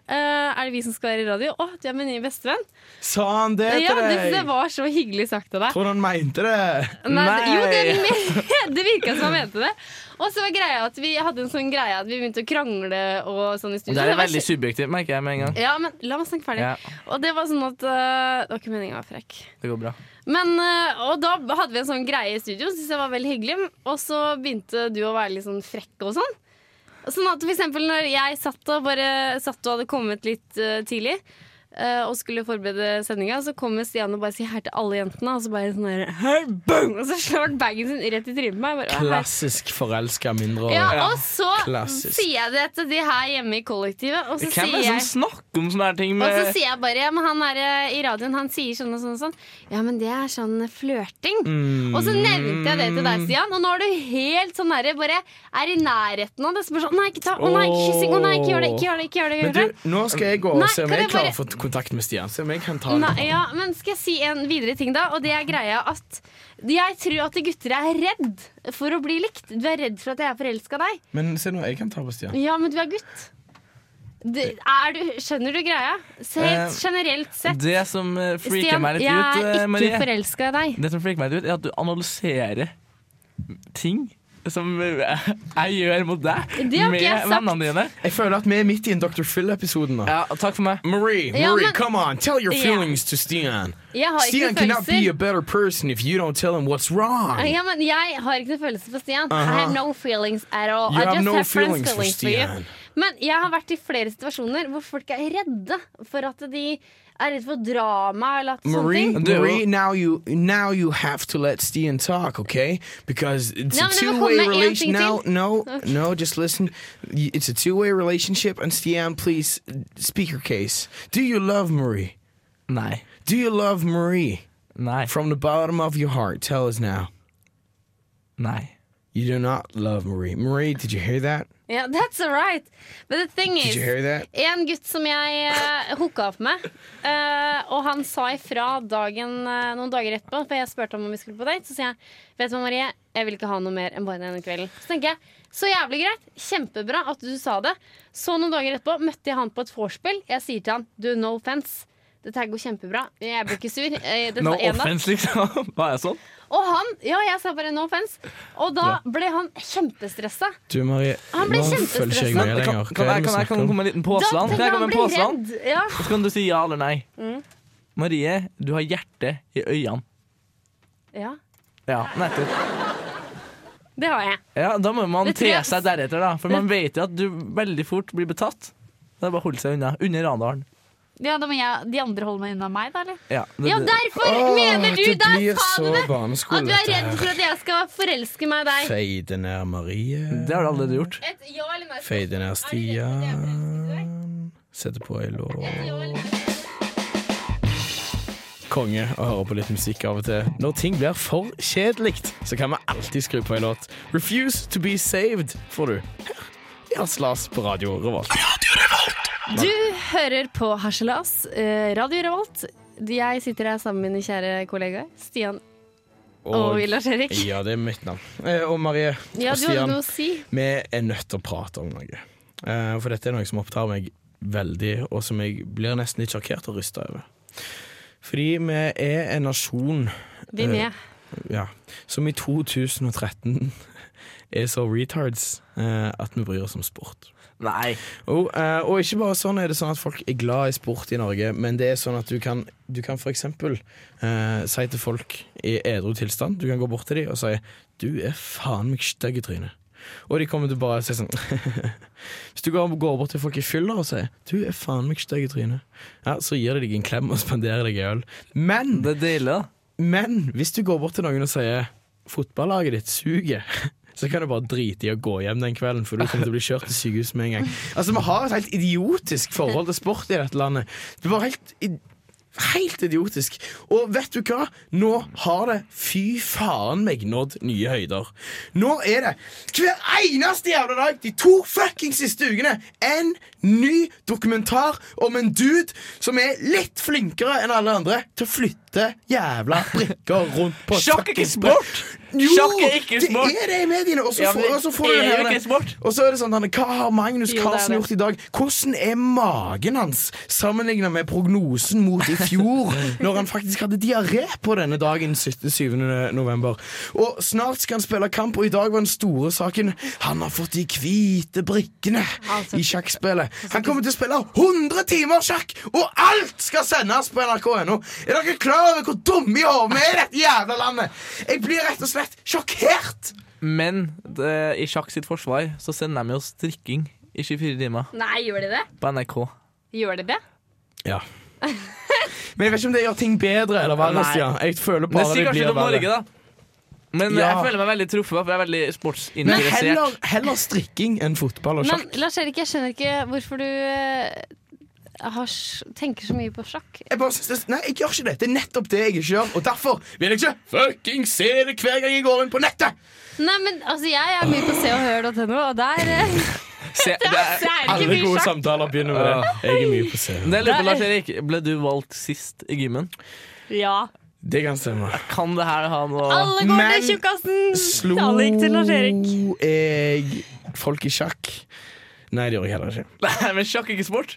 Speaker 3: eh, er det vi som skal være i radio?' 'Å, du er min nye bestevenn'.
Speaker 1: Sa han det
Speaker 3: Ja,
Speaker 1: til
Speaker 3: det, det
Speaker 1: deg?
Speaker 3: var så hyggelig sagt av deg.
Speaker 1: Tror du han mente det?
Speaker 3: Nei, det- Jo, det, det virka som han mente det. Og så var greia at vi hadde en sånn greie at vi begynte å krangle og sånn i studio.
Speaker 4: Det er
Speaker 3: var
Speaker 4: veldig
Speaker 3: kje-
Speaker 4: subjektivt, merker jeg med en gang.
Speaker 3: ja, men la meg snakke ferdig.
Speaker 4: Ja.
Speaker 3: Og det var sånn at eh, Det var ikke meninga å være frekk.
Speaker 4: Det går bra.
Speaker 3: Men, eh, og da hadde vi en sånn greie i studio, synes jeg var veldig hyggelig. Og så begynte du å være litt sånn frekk og sånn. Sånn at for eksempel når jeg satt og bare satt og hadde kommet litt eh, tidlig eh, og skulle forberede sendinga, så kommer Stian og bare sier her til alle jentene, og så bare sånn der «Hei, bang! Og så slår han bagen sin rett i trynet på meg. Jeg Bare, «Å, her-
Speaker 1: Klassisk forelska mindreårig.
Speaker 3: ja, og så
Speaker 1: Klassisk.
Speaker 3: sier jeg det til de her hjemme i kollektivet, og så
Speaker 4: Hvem
Speaker 3: sier
Speaker 4: er det som
Speaker 3: jeg
Speaker 4: snakker om sånne her ting
Speaker 3: og så
Speaker 1: Eh.
Speaker 4: med
Speaker 3: sier jeg bare ja, men han er eh, i radioen, han sier sånn og sånn og sånn. Ja, men det er sånn flørting.
Speaker 1: Mm.
Speaker 3: Og så nevnte jeg det til deg, Stian, og nå er du helt sånn derre bare er i nærheten av det. Så bare sånn nei, ikke ta Å nei, ikke kyssing. Å nei, ikke gjør det. Ikke gjør det. ikke gjør det, ikke
Speaker 1: Men
Speaker 3: gjør det.
Speaker 1: du, nå skal jeg gå og
Speaker 3: Nei,
Speaker 1: se om
Speaker 3: kan
Speaker 1: jeg
Speaker 3: jeg
Speaker 1: klarer
Speaker 3: bare-
Speaker 1: å få kontakt med Stian. Se om jeg kan ta den.
Speaker 3: Nei, ja, men skal jeg si en videre ting, da? Og det er greia at jeg tror at gutter er redd for å bli likt. Du er redd for at jeg er forelska deg.
Speaker 1: Men se nå, jeg kan ta på Stian.
Speaker 3: Ja, men du er gutt. Du, er du, skjønner du greia? Så
Speaker 4: Eh,
Speaker 3: helt generelt sett.
Speaker 4: Det som eh, freaker
Speaker 3: Stian,
Speaker 4: meg litt
Speaker 3: jeg
Speaker 4: ut, eh,
Speaker 3: er ikke
Speaker 4: Marie,
Speaker 3: forelska i deg.
Speaker 4: Det som freaker meg litt ut, er at du analyserer ting som eh, jeg gjør mot deg,
Speaker 3: Det har ikke
Speaker 4: med
Speaker 3: jeg sagt.
Speaker 4: vennene dine.
Speaker 1: Jeg føler at vi er midt i en Dr. Phil-episoden nå.
Speaker 4: Ja, takk for meg.
Speaker 1: Marie, Marie,
Speaker 3: Ja, men-
Speaker 1: come on, tell your
Speaker 3: Ja.
Speaker 1: feelings to Stian.
Speaker 3: Jeg har ikke
Speaker 1: Stian cannot be a
Speaker 3: følelser.
Speaker 1: better person if you don't tell him what's wrong.
Speaker 3: Ja, men jeg har ikke noen følelser for Stian. I have no feelings at all.
Speaker 1: You
Speaker 3: I
Speaker 1: have
Speaker 3: just
Speaker 1: no
Speaker 3: have friends
Speaker 1: feelings for
Speaker 3: feelings for you.
Speaker 1: Stian.
Speaker 3: Men jeg har vært i flere situasjoner hvor folk er redde for at de er redde for drama eller at sånne
Speaker 1: Marie,
Speaker 3: ting.
Speaker 1: Marie, now you now you have to let Stian talk, okay? Because it's
Speaker 3: No,
Speaker 1: a
Speaker 3: no,
Speaker 1: two
Speaker 3: hold
Speaker 1: way
Speaker 3: my hand,
Speaker 1: relation. Now,
Speaker 3: Stian.
Speaker 1: no, no, just listen. Y- It's a two way relationship, and Stian, please speak your case. Do you love Marie?
Speaker 4: Nei.
Speaker 1: Do you love Marie?
Speaker 4: Nei.
Speaker 1: From the bottom of your heart, tell us now.
Speaker 4: Nei.
Speaker 1: You do not love Marie. Marie, did you hear that?
Speaker 3: Yeah, that's all right. But the thing
Speaker 1: Did
Speaker 3: is
Speaker 1: you hear that?
Speaker 3: En gutt som jeg uh, hooka opp med, eh, og han sa ifra dagen, eh, noen dager etterpå, for jeg spurte om om vi skulle på date. Så sier jeg vet du hva, Marie, jeg vil ikke ha noe mer enn bare denne kvelden. Så tenker jeg, så jævlig greit, kjempebra at du sa det. Så noen dager etterpå møtte jeg han på et vorspiel. Jeg sier til han, du, no offense. Dette her går kjempebra. Jeg blir ikke sur. Eh, Dette
Speaker 4: No
Speaker 3: var en natt.
Speaker 4: offense, liksom. Var jeg sånn?
Speaker 3: Og han, ja, jeg sa bare no offense. Og da ble han kjempestressa.
Speaker 1: Du, Marie,
Speaker 3: Han ble
Speaker 1: nå følger ikke jeg
Speaker 3: kjempestressa.
Speaker 1: med
Speaker 4: Kan, kan,
Speaker 1: lenger. Hva
Speaker 4: jeg, kan,
Speaker 1: er det
Speaker 4: jeg,
Speaker 1: vi
Speaker 4: kan jeg
Speaker 1: snakker om?
Speaker 4: komme med en liten
Speaker 3: Da
Speaker 4: påstand? Kan
Speaker 3: tenker
Speaker 4: jeg
Speaker 3: jeg
Speaker 4: komme
Speaker 3: han
Speaker 4: med en
Speaker 3: blir
Speaker 4: påstand?
Speaker 3: redd. Mm. Ja.
Speaker 4: Så kan du si ja eller nei. Marie, du har hjertet i øynene.
Speaker 3: Ja.
Speaker 4: Ja, nettopp.
Speaker 3: Det har jeg.
Speaker 4: Ja, Da må man
Speaker 3: Det tror
Speaker 4: te
Speaker 3: jeg-
Speaker 4: seg deretter, da. For man vet jo at du veldig fort blir betatt. Det er bare å holde seg unna. Under radaren.
Speaker 9: Ja, da må jeg, De andre holder meg unna meg, da, eller?
Speaker 4: Ja, det,
Speaker 9: Ja,
Speaker 4: det-
Speaker 9: derfor mener du
Speaker 1: det
Speaker 9: der,
Speaker 1: blir
Speaker 9: faen
Speaker 1: så
Speaker 9: meg,
Speaker 1: barneskole,
Speaker 9: at du er
Speaker 1: dette
Speaker 9: redd
Speaker 1: her.
Speaker 9: for at jeg skal forelske meg i deg.
Speaker 1: Fade ned Marie.
Speaker 4: det har du allerede gjort.
Speaker 9: Et ja eller nei?
Speaker 1: Fade ned Stian. Sette på ei låt. Konge å høre på litt musikk av og til. Når ting blir for kjedelig, så kan vi alltid skru på ei låt. 'Refuse to be saved' får du her i Haslas på Radio Revolt.
Speaker 3: Du hører på Harselas, eh, Radio Revolt. Jeg sitter her sammen med mine kjære kollegaer Stian og Lars-Erik.
Speaker 1: Ja, det er mitt navn. Eh, Og Marie
Speaker 3: Ja,
Speaker 1: og
Speaker 3: du hadde
Speaker 1: Stian.
Speaker 3: noe å si.
Speaker 1: Vi er nødt til å prate om noe. Eh, for dette er noe som opptar meg veldig, og som jeg blir nesten litt sjokkert og rysta over. Fordi vi er en nasjon
Speaker 3: Vi
Speaker 1: Eh,
Speaker 3: med.
Speaker 1: ja, som i 2013 er så retards eh, at vi bryr oss om sport.
Speaker 4: Nei.
Speaker 1: Og, eh, og ikke bare sånn er det sånn at folk er glad i sport i Norge, men det er sånn at du kan, du kan for eksempel eh, si til folk i edru tilstand, du kan gå bort til dem og si du er faen meg stygg i trynet. Og de kommer til bare å si sånn Hvis du går, går bort til folk i fylla og sier du er faen meg stygg i trynet, ja, så gir de deg en klem og spanderer deg øl. Men
Speaker 4: Det er deilig, da.
Speaker 1: men hvis du går bort til noen og sier fotballaget ditt suger, så kan du bare drite i å gå hjem den kvelden, for du kommer til å bli kjørt til sykehus med en gang. Altså, Vi har et helt idiotisk forhold til sport i dette landet. Det var helt, i- helt idiotisk. Og vet du hva? Nå har det fy faen meg nådd nye høyder. Nå er det hver eneste jævla dag de to fucking siste ukene en ny dokumentar om en dude som er litt flinkere enn alle andre til å flytte jævla brikker rundt på et
Speaker 4: Sjakk er ikke
Speaker 1: fucking
Speaker 4: sport!
Speaker 1: jo,
Speaker 4: Sjakk er ikke
Speaker 1: det
Speaker 4: sport!
Speaker 1: er det i mediene! Og så
Speaker 4: Ja, men
Speaker 1: får, og så får du
Speaker 4: det
Speaker 1: den
Speaker 4: er jo
Speaker 1: her-
Speaker 4: ikke sport.
Speaker 1: Og så er det sånn Hanne, Hva har Magnus
Speaker 3: Jo, det er
Speaker 1: Carlsen
Speaker 3: det.
Speaker 1: gjort i dag? Hvordan er magen hans sammenlignet med prognosen mot i fjor, når han faktisk hadde diaré på denne dagen 17. 7. november? Og snart skal han spille kamp, og i dag var den store saken Han har fått de hvite brikkene
Speaker 3: Altså,
Speaker 1: i sjakkspillet. Han kommer til å spille 100 timer sjakk, og alt skal sendes på nrk.no! Er dere klar over hvor dumme i hodet vi er i dette jævla landet? Jeg blir rett og slett sjokkert!
Speaker 4: Men det, i sjakk sitt forsvar så sender de jo strikking i 24 timer
Speaker 3: Nei, gjør de det?
Speaker 4: på NRK.
Speaker 3: Gjør de det?
Speaker 1: Ja. Men jeg vet ikke om det gjør ting bedre eller verre.
Speaker 4: Nei.
Speaker 1: Stian. Jeg føler
Speaker 4: Det
Speaker 1: bare
Speaker 4: sier
Speaker 1: det,
Speaker 4: kanskje
Speaker 1: blir
Speaker 4: noe om Norge,
Speaker 1: verre.
Speaker 4: da. Men
Speaker 1: Ja.
Speaker 4: jeg føler meg veldig truffet, for jeg er veldig
Speaker 1: Men
Speaker 4: sportsinteressert.
Speaker 1: heller, heller strikking enn fotball og
Speaker 3: Men
Speaker 1: sjakk.
Speaker 3: Lars-Erik, jeg skjønner ikke hvorfor du eh, har, s- tenker så mye på sjakk.
Speaker 1: Jeg bare synes, det- nei, jeg gjør ikke det. Det er nettopp det jeg ikke gjør. Og derfor vil jeg ikke fucking se det hver gang jeg går inn på nettet!
Speaker 3: Nei, men altså, jeg er mye på seoghør.no, og der eh,
Speaker 4: Se, det er,
Speaker 3: så er det ikke mye sjakk.
Speaker 1: samtaler begynner med det. Jeg er mye på scenen.
Speaker 4: det er litt, Lars Erik, ble du valgt sist i gymmen?
Speaker 3: Ja.
Speaker 1: Det kan stemme.
Speaker 4: Kan det her ha noe
Speaker 3: Alle går
Speaker 1: Men-
Speaker 3: til tjukkasen!
Speaker 1: Slo
Speaker 3: Alle gikk til Lars-Erik.
Speaker 1: jeg folk i sjakk? Nei, det gjorde jeg heller ikke.
Speaker 4: Nei, men sjakk er ikke sport.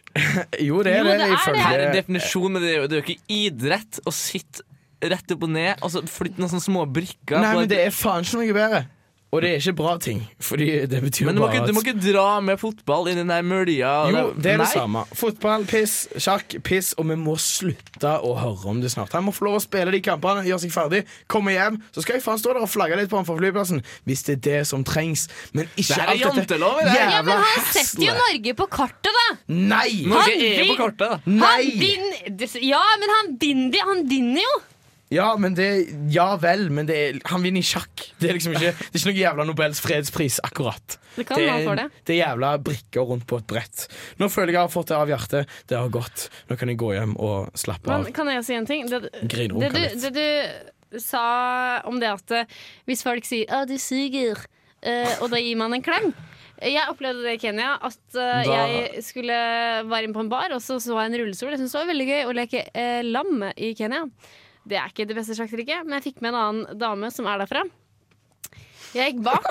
Speaker 1: Jo, det er
Speaker 3: Jo,
Speaker 1: det.
Speaker 3: det er
Speaker 1: ifølge-
Speaker 3: det.
Speaker 4: Her er definisjonen, men det er jo, det er jo ikke idrett å sitte rett opp og ned og så flytte noen sånne små brikker.
Speaker 1: Nei,
Speaker 4: på
Speaker 1: men
Speaker 4: et-
Speaker 1: det er faen ikke noe bedre. Og det er ikke bra ting. Fordi det betyr
Speaker 4: men du, må
Speaker 1: bare
Speaker 4: ikke, du må ikke dra med fotball i den der mølja. og
Speaker 1: Jo, det er det
Speaker 4: Nei.
Speaker 1: samme. Fotball, piss, sjakk, piss, og vi må slutte å høre om det snart. Han må få lov å spille de kampene, gjøre seg ferdig, komme hjem. Så skal jeg faen stå der og flagge litt på han fra flyplassen, hvis det er det som trengs. Men ikke
Speaker 4: Det her er
Speaker 1: alt dette
Speaker 4: jantelov, det her.
Speaker 3: Ja,
Speaker 1: jævla
Speaker 3: men han setter jo
Speaker 1: haslet.
Speaker 3: Norge på kartet, da!
Speaker 1: Nei!
Speaker 4: Norge
Speaker 3: Han
Speaker 4: er
Speaker 3: vil-
Speaker 4: e på kartet, da.
Speaker 3: Han
Speaker 1: Nei!
Speaker 3: vinner des- Ja, men han vinner, de- han vinner jo!
Speaker 1: Ja, men det, ja vel, men det er, han vinner i sjakk. Det er liksom ikke, det er ikke noe jævla Nobels fredspris, akkurat.
Speaker 3: Det kan han for det.
Speaker 1: det er jævla brikker rundt på et brett. Nå føler jeg jeg har fått det av hjertet. Det har gått. Nå kan jeg gå hjem og slappe av.
Speaker 3: Men kan jeg si en ting? Det, det,
Speaker 1: Griner
Speaker 3: du,
Speaker 1: runka litt.
Speaker 3: det du sa om det at eh, hvis folk sier 'Å, du suger', eh, og da gir man en klem jeg opplevde det i Kenya, at eh,
Speaker 4: Da-
Speaker 3: jeg skulle være inne på en bar, og så så jeg en rullestol. Jeg syntes det var veldig gøy å leke eh, lam i Kenya. Det er ikke det beste sjakktrikket, men jeg fikk med en annen dame som er derfra. Jeg gikk bak.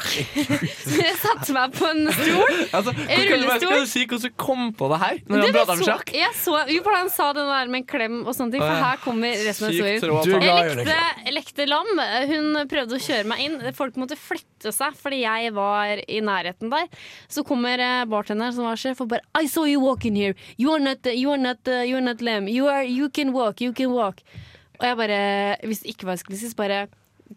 Speaker 3: jeg satte meg på en stol.
Speaker 4: Altså, hvor-
Speaker 3: rullestol?
Speaker 4: Skal du si hvordan du kom på det her? Når
Speaker 3: Du,
Speaker 4: han
Speaker 3: vi
Speaker 4: prater om
Speaker 3: så-
Speaker 4: sjakk? Eh,
Speaker 3: Jeg så, jo, for han sa den der med en klem og sånne ting, for
Speaker 4: Å, ja.
Speaker 3: her kommer resten av
Speaker 4: Sykt
Speaker 3: historien.
Speaker 4: rå
Speaker 1: Du- glad
Speaker 4: tanke.
Speaker 1: i
Speaker 3: Jeg lekte, lekte lam. Hun prøvde å kjøre meg inn. Folk måtte flytte seg fordi jeg var i nærheten der. Så kommer eh, bartenderen som var sjef og bare I saw you walk in here. You are not, you are not, you are not lam. You, are, you can walk, you can walk. Og jeg bare Hvis det ikke var jeg skulle si, så bare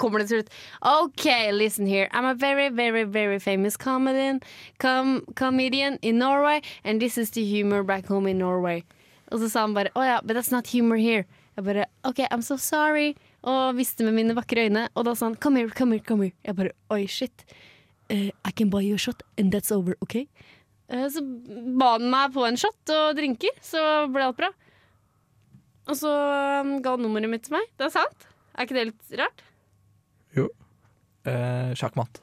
Speaker 3: kommer det til slutt. Ok, listen here. I'm a very, very, very famous comedian, com comedian in Norway, and this is the humor back home in Norway. Og så sa han bare, oh ja, but that's not humor here. Jeg bare, ok, I'm so sorry. Og visste med mine vakre øyne. Og da sa han, come here, come here, come here. Jeg bare, oi, shit. Eh, I can buy you a shot, and that's over, ok? Eh, Så ba han meg på en shot og drinker, så ble alt bra. Og så um, ga han nummeret mitt til meg. Det er sant? Er ikke det litt rart?
Speaker 4: Eh, Sjakkmatt.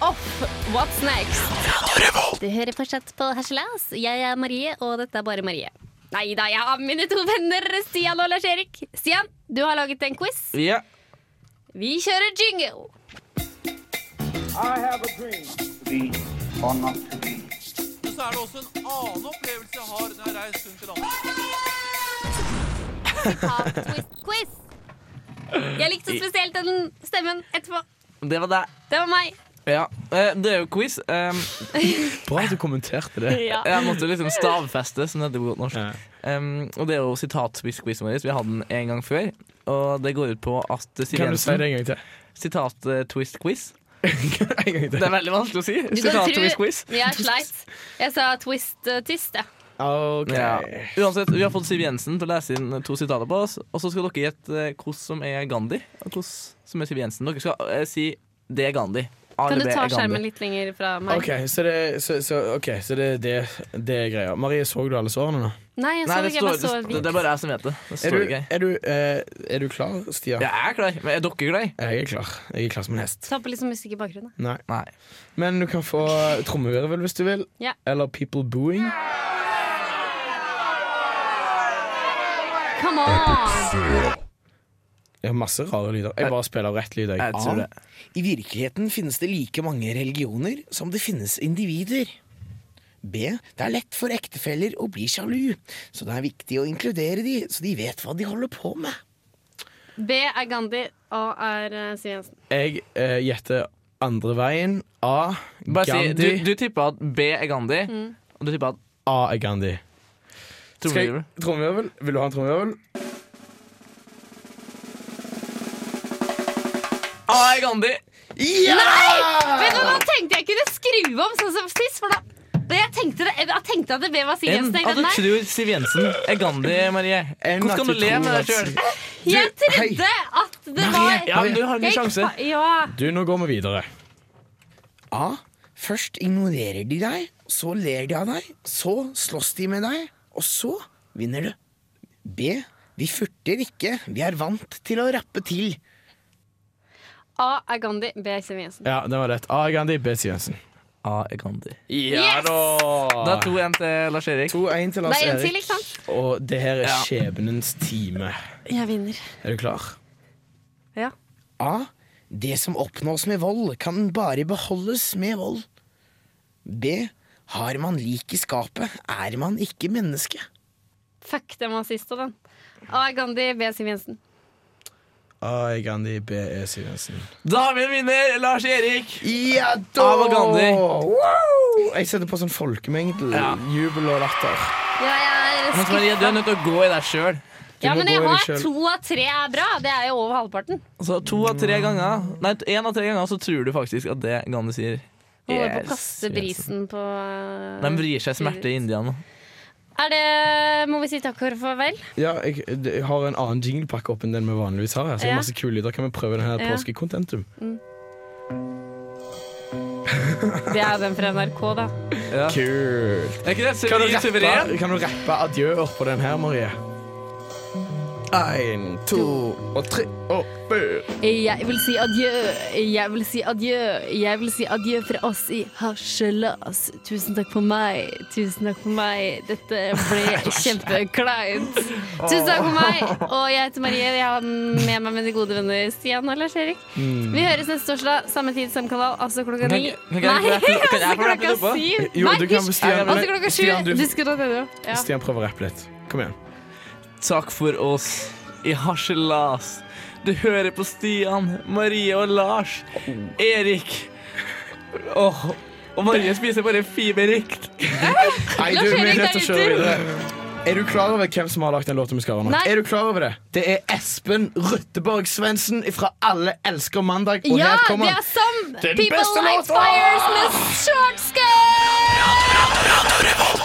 Speaker 3: Off, what's next? Du hører fortsatt på Herselas. Jeg er Marie, og dette er bare Marie. Nei da, jeg har mine to venner Stian og Lars-Erik. Stian, du har laget en quiz.
Speaker 4: Ja.
Speaker 3: Vi kjører jingle.
Speaker 4: Så er det også en annen opplevelse jeg har når jeg reiser rundt i landet.
Speaker 3: Sitat, twist, quiz. Jeg likte spesielt den stemmen etterpå.
Speaker 4: Det var det.
Speaker 3: Det var meg.
Speaker 4: Ja. eh, det er jo quiz. Eh,
Speaker 1: Bra at du kommenterte det.
Speaker 4: jeg måtte liksom stavfeste, som det heter på godt norsk.
Speaker 1: Ja.
Speaker 4: Um, og det er jo sitatquiz-quizen vår. Vi hadde den en gang før. Og det går ut på at Siv
Speaker 1: Kan du si
Speaker 4: Jensen
Speaker 1: det en gang til?
Speaker 4: Sitat-twist-quiz.
Speaker 1: en gang
Speaker 4: Det
Speaker 1: til.
Speaker 4: er veldig vanskelig å si.
Speaker 3: Du kan tro-
Speaker 4: Sitat-twist-quiz.
Speaker 3: Jeg sleit. Jeg sa eh, twist-tist, jeg.
Speaker 1: Ok.
Speaker 4: Ja. Uansett, vi har fått Siv Jensen til å lese inn to sitater på oss. Og så skal dere gjette eh, hvordan som er Gandhi, og hvordan som er Siv Jensen. Dere skal eh, si 'det er Gandhi'. A
Speaker 3: Kan
Speaker 4: eller
Speaker 3: du
Speaker 4: B
Speaker 3: ta
Speaker 4: er
Speaker 3: skjermen
Speaker 4: Gandhi.
Speaker 3: litt lenger fra meg?
Speaker 1: Ok, så det, så, så, ok, så det, det, det er greia. Marie, så du alle svarene nå?
Speaker 3: Nei, jeg
Speaker 4: Nei,
Speaker 3: så
Speaker 4: det,
Speaker 3: ikke. Jeg
Speaker 4: står,
Speaker 3: bare
Speaker 4: det,
Speaker 3: så
Speaker 4: det,
Speaker 3: vidt.
Speaker 4: er bare jeg som vet det. det
Speaker 1: Er
Speaker 4: står
Speaker 1: du,
Speaker 4: ikke.
Speaker 1: er du, eh, er du klar, Stian?
Speaker 4: Jeg er klar. Men er dere klar?
Speaker 1: Jeg er klar. Jeg er klar som en hest.
Speaker 3: Ta på litt sånn musikk i bakgrunnen.
Speaker 1: Nei.
Speaker 4: Nei.
Speaker 1: Men du kan få trommevirvel hvis du vil.
Speaker 3: Ja.
Speaker 1: Eller people booing.
Speaker 3: Come on!
Speaker 1: Jeg har masse rare lyder. Jeg bare spiller av rett lyd. Jeg. Ah.
Speaker 4: Jeg tror det.
Speaker 2: I virkeligheten finnes det like mange religioner som det finnes individer. B. Det er lett for ektefeller å bli sjalu, så det er viktig å inkludere de, så de vet hva de holder på med.
Speaker 3: B er Gandhi, A er eh, Siv Jensen.
Speaker 1: Jeg eh, gjetter andre veien. A.
Speaker 4: Bare si,
Speaker 1: Gandhi.
Speaker 4: du, du tippa at B er Gandhi,
Speaker 3: Mm.
Speaker 4: og du tippa at
Speaker 1: A er Gandhi. Skal jeg-
Speaker 4: Trommevirvel.
Speaker 1: Trommevirvel? Vil du ha en trommevirvel?
Speaker 4: A er Gandhi!
Speaker 3: Vet du hva, nå tenkte jeg kunne skru om sånn som sist, for da da jeg tenkte, det, jeg tenkte at det B var Siv
Speaker 4: Enn
Speaker 3: Jensen. tenkte
Speaker 4: at
Speaker 3: jeg,
Speaker 4: du
Speaker 3: nei.
Speaker 4: tror Siv Jensen er Gandhi, Marie.
Speaker 1: Enn
Speaker 4: Hvordan
Speaker 1: at
Speaker 4: kan du
Speaker 1: du
Speaker 4: le
Speaker 1: tror
Speaker 4: med deg
Speaker 1: at-
Speaker 4: sjøl?
Speaker 3: Jeg trodde at det var
Speaker 4: Ja, men du har en ny
Speaker 3: Jeg-
Speaker 4: sjanse.
Speaker 3: Ja.
Speaker 1: Du, nå går vi videre.
Speaker 2: A. Først ignorerer de deg, så ler de av deg, så slåss de med deg, og så vinner du. B. Vi furter ikke, vi er vant til å rappe til.
Speaker 3: A er Gandhi, B er Siv Jensen.
Speaker 1: Ja, det var lett. A er Gandhi, B Siv Jensen.
Speaker 4: A er Gandhi.
Speaker 3: Yes!
Speaker 4: Da er 2-1 til Lars Erik.
Speaker 1: 2-1 til
Speaker 3: Det
Speaker 1: Lars
Speaker 3: er en til,
Speaker 1: Erik.
Speaker 3: ikke sant?
Speaker 1: Og det her er
Speaker 4: Ja.
Speaker 1: skjebnens time.
Speaker 3: Jeg vinner.
Speaker 1: Er du klar?
Speaker 3: Ja.
Speaker 2: A. Det som oppnås med vold, kan bare beholdes med vold. B. Har man lik i skapet, er man ikke menneske.
Speaker 3: Fuck, den var sist og den. A er Gandhi, B er Siv Jensen.
Speaker 1: A er Gandhi, B er Siv Jensen.
Speaker 4: Da har vi en vinner, Lars Erik.
Speaker 1: Ja da!
Speaker 4: A var Gandhi.
Speaker 1: Wow! Jeg setter på sånn folkemengde.
Speaker 4: Ja.
Speaker 1: Jubel og latter.
Speaker 3: Jeg er
Speaker 4: Men Marie, du er
Speaker 3: skuffa.
Speaker 4: nødt til å gå i deg sjøl.
Speaker 3: Ja,
Speaker 1: må
Speaker 3: men
Speaker 1: gå
Speaker 3: jeg
Speaker 1: i deg
Speaker 3: har
Speaker 1: selv.
Speaker 3: to av tre er bra. Det er jo over halvparten.
Speaker 4: Så Altså, to av tre ganger Nei, én av tre ganger så tror du faktisk at det Gandhi sier.
Speaker 3: Holder på
Speaker 4: er
Speaker 3: å kaste
Speaker 4: Siv Jensen.
Speaker 3: brisen på eh,
Speaker 4: De vrir seg smerte i India nå.
Speaker 3: Er det Må vi si takk for farvel?
Speaker 1: Ja, jeg, jeg har en annen jinglepakke opp enn den vi vanligvis har. her, Så det
Speaker 3: Ja.
Speaker 1: er masse kule lyder. Kan vi prøve den her
Speaker 3: Ja.
Speaker 1: påskekontentum?
Speaker 3: Det er den fra NRK, da.
Speaker 4: Ja.
Speaker 1: Kult.
Speaker 4: Er ikke det
Speaker 1: Kan du
Speaker 4: suveren? suveren?
Speaker 1: rappe, kan du rappe adjøer på den her, Marie? Én, to og tre og fire.
Speaker 3: Jeg vil si adjø, jeg vil si adjø, jeg vil si adjø fra oss i Harselas. Tusen takk for meg, tusen takk for meg. Dette ble kjempekleint. Tusen takk for meg, og jeg heter Marie. Jeg har med meg mine gode venner Stian og Lars-Erik.
Speaker 1: Mm.
Speaker 3: Vi høres neste torsdag, samme tid, samme kanal, altså klokka
Speaker 4: Kan
Speaker 3: ni.
Speaker 4: jeg- kan jeg få rappe- kan jeg få
Speaker 3: altså
Speaker 4: rappe
Speaker 3: klokka
Speaker 4: det på?
Speaker 3: syv.
Speaker 1: Jo,
Speaker 3: Nei,
Speaker 1: du kan
Speaker 3: hysj.
Speaker 1: Stian,
Speaker 3: Altså klokka sju.
Speaker 1: Stian, du,
Speaker 3: Du skal ta det, du. Ja.
Speaker 1: Stian prøver å rappe litt. Kom igjen.
Speaker 4: Takk for oss i Harselas. Du hører på Stian, Marie og Lars. Erik. Åh, og Marie spiser bare fiberrikt.
Speaker 1: Nei,
Speaker 3: Lars
Speaker 1: du, vi er
Speaker 3: Erik,
Speaker 1: nødt til å
Speaker 3: det er
Speaker 1: kjøre
Speaker 3: din tur.
Speaker 1: videre. Er du klar over hvem som har lagd den låta vi skal høre nå?
Speaker 3: Nei.
Speaker 1: Er du klar over det? Det er Espen Rutteborg Svendsen fra Alle elsker mandag. Og
Speaker 3: Ja,
Speaker 1: her
Speaker 3: det
Speaker 1: kommer
Speaker 3: er som
Speaker 1: den
Speaker 3: People
Speaker 1: beste
Speaker 3: Like
Speaker 1: låta!
Speaker 3: Fires med shortskirt!